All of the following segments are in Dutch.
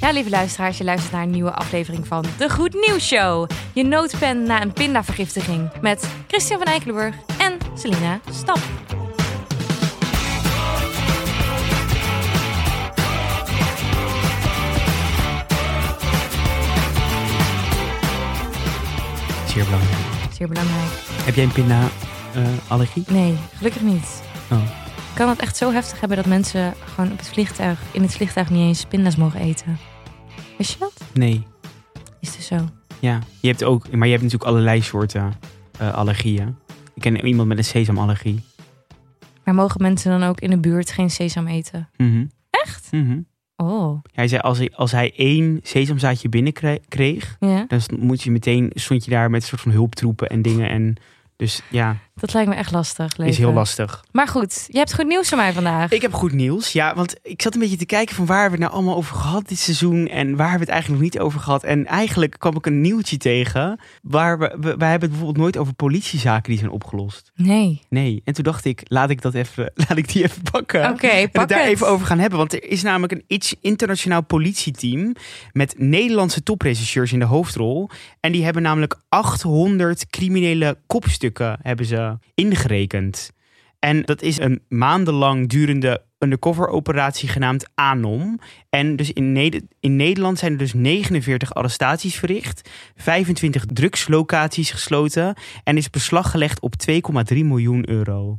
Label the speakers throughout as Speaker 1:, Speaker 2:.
Speaker 1: Ja, lieve luisteraars, je luistert naar een nieuwe aflevering van De Goed Nieuws Show. Je noodpen na een pindavergiftiging met Christian van Eikelenburg en Selina Stap.
Speaker 2: Zeer belangrijk.
Speaker 1: Zeer belangrijk.
Speaker 2: Heb jij een eh, pinda-allergie?
Speaker 1: Nee, gelukkig niet.
Speaker 2: oh.
Speaker 1: Kan het echt zo heftig hebben dat mensen gewoon op het vliegtuig, in het vliegtuig niet eens pinda's mogen eten? Wist je dat?
Speaker 2: Nee.
Speaker 1: Is dus zo.
Speaker 2: Ja. Je hebt ook, maar je hebt natuurlijk allerlei soorten eh, allergieën. Ik ken iemand met een sesamallergie.
Speaker 1: Maar mogen mensen dan ook in de buurt geen sesam eten?
Speaker 2: Mhm.
Speaker 1: Echt?
Speaker 2: Mhm.
Speaker 1: Oh,
Speaker 2: Hij zei, als hij, als hij één sesamzaadje binnenkreeg,
Speaker 1: ja.
Speaker 2: dan st- moet je meteen, stond je daar met een soort van hulptroepen en dingen. En dus ja,
Speaker 1: Dat lijkt me echt lastig.
Speaker 2: is
Speaker 1: leven.
Speaker 2: heel lastig.
Speaker 1: Maar goed, je hebt goed nieuws voor mij vandaag.
Speaker 2: Ik heb goed nieuws. Ja, want ik zat een beetje te kijken van waar hebben we het nou allemaal over gehad dit seizoen. En waar hebben we het eigenlijk nog niet over gehad. En eigenlijk kwam ik een nieuwtje tegen. Waar we, we, wij hebben het bijvoorbeeld nooit over politiezaken die zijn opgelost.
Speaker 1: Nee.
Speaker 2: Nee. En toen dacht ik, laat ik, dat even, laat ik die even pakken.
Speaker 1: Oké,
Speaker 2: En het
Speaker 1: pak
Speaker 2: daar
Speaker 1: het.
Speaker 2: even over gaan hebben. Want er is namelijk een iets internationaal politieteam met Nederlandse topregisseurs in de hoofdrol. En die hebben namelijk 800 criminele kopstukken hebben ze ingerekend. En dat is een maandenlang durende undercover operatie genaamd Anom. En dus in, Neder- in Nederland zijn er dus 49 arrestaties verricht, 25 drugslocaties gesloten en is beslag gelegd op 2,3 miljoen euro.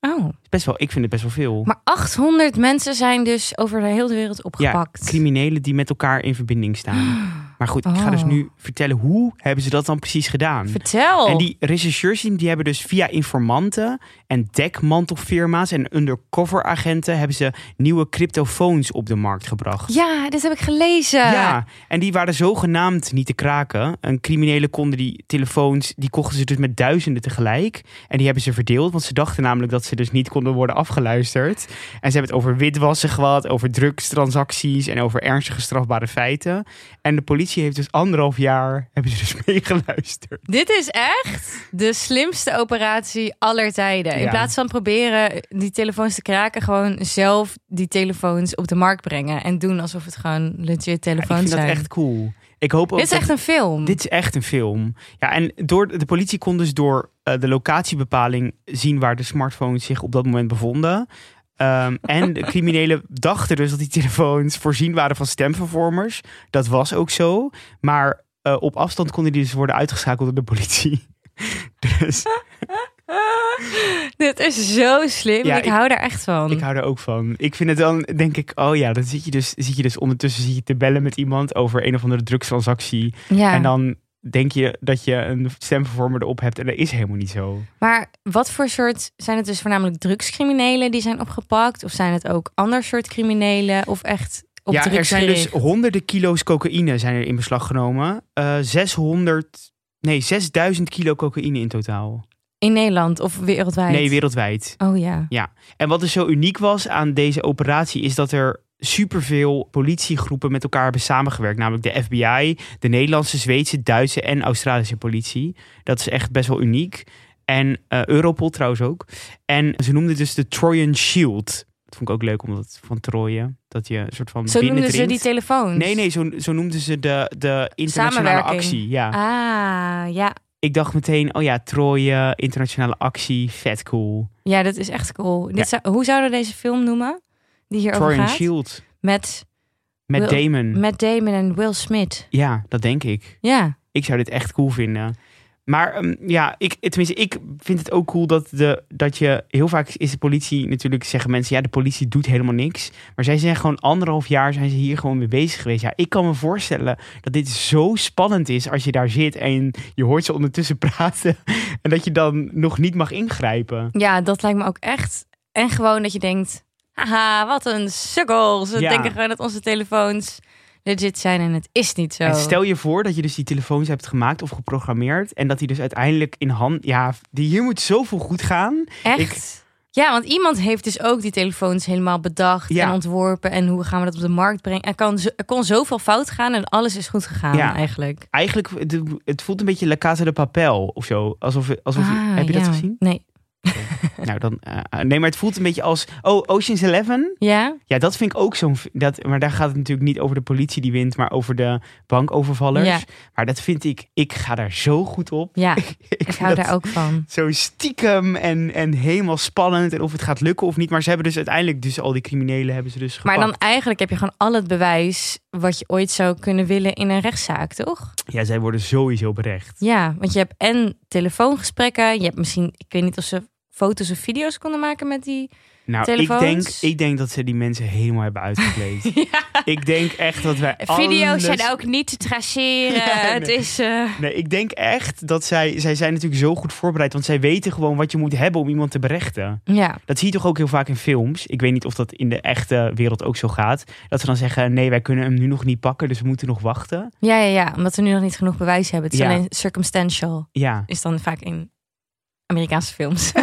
Speaker 1: Oh.
Speaker 2: Is Best wel, ik vind het best wel veel.
Speaker 1: Maar 800 mensen zijn dus over de hele wereld opgepakt.
Speaker 2: Ja, criminelen die met elkaar in verbinding staan. Maar goed, ik ga dus
Speaker 1: Oh.
Speaker 2: nu vertellen hoe hebben ze dat dan precies gedaan.
Speaker 1: Vertel.
Speaker 2: En die rechercheurs die hebben dus via informanten en dekmantelfirma's en undercover agenten hebben ze nieuwe cryptofoons op de markt gebracht.
Speaker 1: Ja, dit heb ik gelezen.
Speaker 2: Ja, en die waren zogenaamd niet te kraken. En criminelen konden die telefoons, die kochten ze dus met duizenden tegelijk. En die hebben ze verdeeld, want ze dachten namelijk dat ze dus niet konden worden afgeluisterd. En ze hebben het over witwassen gehad, over drugstransacties en over ernstige strafbare feiten. En de politie heeft dus anderhalf jaar, hebben ze dus meegeluisterd.
Speaker 1: Dit is echt de slimste operatie aller tijden. In
Speaker 2: Ja.
Speaker 1: plaats van proberen die telefoons te kraken, gewoon zelf die telefoons op de markt brengen. En doen alsof het gewoon legit
Speaker 2: Ja, ik
Speaker 1: telefoons
Speaker 2: vind dat
Speaker 1: zijn.
Speaker 2: echt cool. Ik hoop ook
Speaker 1: Dit is
Speaker 2: dat-
Speaker 1: echt een film.
Speaker 2: Dit is echt een film. Ja, en door, de politie kon dus door eh, de locatiebepaling zien waar de smartphones zich op dat moment bevonden. Ehm, en de criminelen dachten dus dat die telefoons voorzien waren van stemvervormers. Dat was ook zo. Maar eh, op afstand konden die dus worden uitgeschakeld door de politie. Dus
Speaker 1: Dit is zo slim.
Speaker 2: Ja,
Speaker 1: ik,
Speaker 2: ik-
Speaker 1: hou daar echt van.
Speaker 2: ik hou er ook van. Ik vind het dan, denk ik, oh ja, dan zit je dus, zit je dus ondertussen zit je te bellen met iemand over een of andere drugstransactie.
Speaker 1: ja.
Speaker 2: En dan denk je dat je een stemvervormer erop hebt. En dat is helemaal niet zo.
Speaker 1: Maar wat voor soort zijn het dus voornamelijk drugscriminelen die zijn opgepakt? Of zijn het ook ander soort criminelen? Of echt op
Speaker 2: ja,
Speaker 1: drugs
Speaker 2: er zijn
Speaker 1: gericht?
Speaker 2: dus honderden kilo's cocaïne zijn er in beslag genomen. Eh 600, nee, 6000 kilo cocaïne in totaal.
Speaker 1: In Nederland of wereldwijd?
Speaker 2: Nee, wereldwijd.
Speaker 1: Oh ja.
Speaker 2: En wat dus zo uniek was aan deze operatie is dat er superveel politiegroepen met elkaar hebben samengewerkt. Namelijk de FBI, de Nederlandse, Zweedse, Duitse en Australische politie. Dat is echt best wel uniek. En eh, Europol trouwens ook. En ze noemden dus de Trojan Shield. Dat vond ik ook leuk, omdat van Troje, dat je een soort van
Speaker 1: Zo noemden ze
Speaker 2: binnendringt.
Speaker 1: die telefoons.
Speaker 2: Nee, nee, zo, zo noemden ze de, de internationale
Speaker 1: Samenwerking.
Speaker 2: actie. Ja.
Speaker 1: Ah, ja.
Speaker 2: Ik dacht meteen, oh ja, Troje, internationale actie, vet cool.
Speaker 1: Ja, dat is echt cool. Dit
Speaker 2: Ja.
Speaker 1: zou- hoe zouden we deze film noemen? Die hierover
Speaker 2: Trojan
Speaker 1: gaat?
Speaker 2: Shield Hm.
Speaker 1: Met
Speaker 2: met
Speaker 1: Wil-
Speaker 2: Damon.
Speaker 1: Matt Damon en Will Smith.
Speaker 2: Ja, dat denk ik.
Speaker 1: Ja.
Speaker 2: Ik zou dit echt cool vinden. Maar ehm, ja, ik, tenminste, ik vind het ook cool dat, de, dat je... Heel vaak is de politie natuurlijk, zeggen mensen... Ja, de politie doet helemaal niks. Maar zij zijn gewoon anderhalf jaar zijn ze hier gewoon mee bezig geweest. Ja, ik kan me voorstellen dat dit zo spannend is als je daar zit... en je hoort ze ondertussen praten... en dat je dan nog niet mag ingrijpen.
Speaker 1: ja, dat lijkt me ook echt. En gewoon dat je denkt, haha, wat een sukkel. Ze
Speaker 2: Ja.
Speaker 1: denken gewoon dat onze telefoons legit zijn en het is niet zo.
Speaker 2: En stel je voor dat je dus die telefoons hebt gemaakt of geprogrammeerd. En dat die dus uiteindelijk in hand. Ja, die, hier moet zoveel goed gaan.
Speaker 1: Echt? Ja, want iemand heeft dus ook die telefoons helemaal bedacht
Speaker 2: Ja.
Speaker 1: en ontworpen. En hoe gaan we dat op de markt brengen? Er, kan, zo- er kon zoveel fout gaan en alles is goed gegaan
Speaker 2: Ja.
Speaker 1: eigenlijk.
Speaker 2: Eigenlijk, het, het voelt een beetje La Casa de Papel of zo. Alsof, alsof
Speaker 1: Ah,
Speaker 2: heb je dat
Speaker 1: ja.
Speaker 2: gezien?
Speaker 1: Nee.
Speaker 2: nou, dan, eh, nee, maar het voelt een beetje als... Oh, Ocean's Eleven?
Speaker 1: Ja?
Speaker 2: Ja, dat vind ik ook zo'n... Dat, maar daar gaat het natuurlijk niet over de politie die wint... maar over de bankovervallers.
Speaker 1: Ja.
Speaker 2: Maar dat vind ik... Ik ga daar zo goed op.
Speaker 1: Ja, ik
Speaker 2: vind
Speaker 1: hou
Speaker 2: dat
Speaker 1: daar ook van.
Speaker 2: Zo stiekem en, en helemaal spannend. En of het gaat lukken of niet. Maar ze hebben dus uiteindelijk... Dus al die criminelen hebben ze dus
Speaker 1: Maar
Speaker 2: gepakt.
Speaker 1: dan eigenlijk heb je gewoon al het bewijs wat je ooit zou kunnen willen in een rechtszaak, toch?
Speaker 2: Ja, zij worden sowieso berecht.
Speaker 1: Ja, want je hebt en telefoongesprekken, je hebt misschien, ik weet niet of ze foto's of video's konden maken met die.
Speaker 2: Nou, ik
Speaker 1: Telefoons?
Speaker 2: denk, ik denk dat ze die mensen helemaal hebben uitgekleed. Ik denk echt dat wij
Speaker 1: Video's
Speaker 2: alles-
Speaker 1: zijn ook niet te traceren.
Speaker 2: Ja, nee.
Speaker 1: Het is. eh,
Speaker 2: Nee, ik denk echt dat zij... Zij zijn natuurlijk zo goed voorbereid. Want zij weten gewoon wat je moet hebben om iemand te berechten.
Speaker 1: ja.
Speaker 2: Dat zie je toch ook heel vaak in films. Ik weet niet of dat in de echte wereld ook zo gaat. Dat ze dan zeggen, nee, wij kunnen hem nu nog niet pakken. Dus we moeten nog wachten.
Speaker 1: ja, ja, ja, omdat we nu nog niet genoeg bewijs hebben. Het is
Speaker 2: Ja.
Speaker 1: alleen circumstantial.
Speaker 2: Ja,
Speaker 1: Is dan vaak in Amerikaanse films.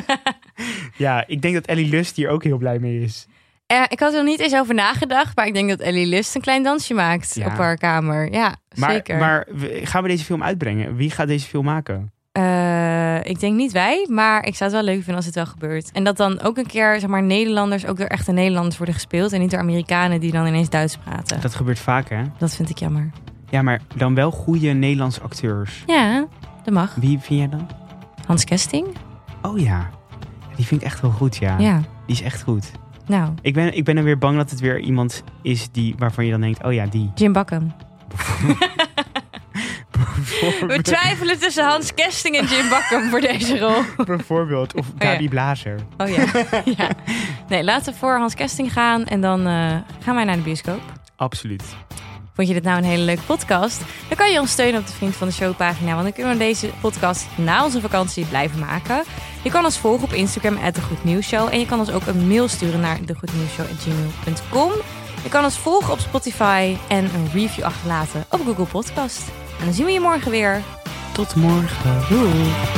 Speaker 2: ja ik denk dat Ellie Lust hier ook heel blij mee is.
Speaker 1: Eh, ik had er niet eens over nagedacht, maar ik denk dat Ellie Lust een klein dansje maakt
Speaker 2: Ja.
Speaker 1: op haar kamer. Ja,
Speaker 2: Maar,
Speaker 1: zeker.
Speaker 2: maar we- gaan we deze film uitbrengen? Wie gaat deze film maken?
Speaker 1: Eh, ik denk niet wij, maar ik zou het wel leuk vinden als het wel gebeurt. En dat dan ook een keer, zeg maar, Nederlanders ook door echte Nederlanders worden gespeeld. En niet door Amerikanen die dan ineens Duits praten.
Speaker 2: Dat gebeurt vaak, hè?
Speaker 1: Dat vind ik jammer.
Speaker 2: Ja, maar dan wel goede Nederlandse acteurs.
Speaker 1: Ja, dat mag.
Speaker 2: Wie vind jij dan?
Speaker 1: Hans Kesting?
Speaker 2: Oh ja, die vind ik echt wel goed, ja.
Speaker 1: Ja.
Speaker 2: Die is echt goed.
Speaker 1: Nou,
Speaker 2: Ik ben, ik ben er weer bang dat het weer iemand is die, waarvan je dan denkt, oh ja, die.
Speaker 1: Jim Bakken. We twijfelen tussen Hans Kesting en Jim Bakken voor deze rol.
Speaker 2: Bijvoorbeeld, of Gabi Blazer.
Speaker 1: Oh ja. ja. Nee, laten we voor Hans Kesting gaan en dan eh, gaan wij naar de bioscoop.
Speaker 2: Absoluut.
Speaker 1: Vond je dit nou een hele leuke podcast? Dan kan je ons steunen op de Vriend van de Show pagina. Want dan kunnen we deze podcast na onze vakantie blijven maken. Je kan ons volgen op Instagram, at de Goed Nieuws Show. En je kan ons ook een mail sturen naar degoednieuwsshow.gmail.com. Je kan ons volgen op Spotify en een review achterlaten op Google Podcast. En dan zien we je morgen weer.
Speaker 2: Tot morgen. Doei.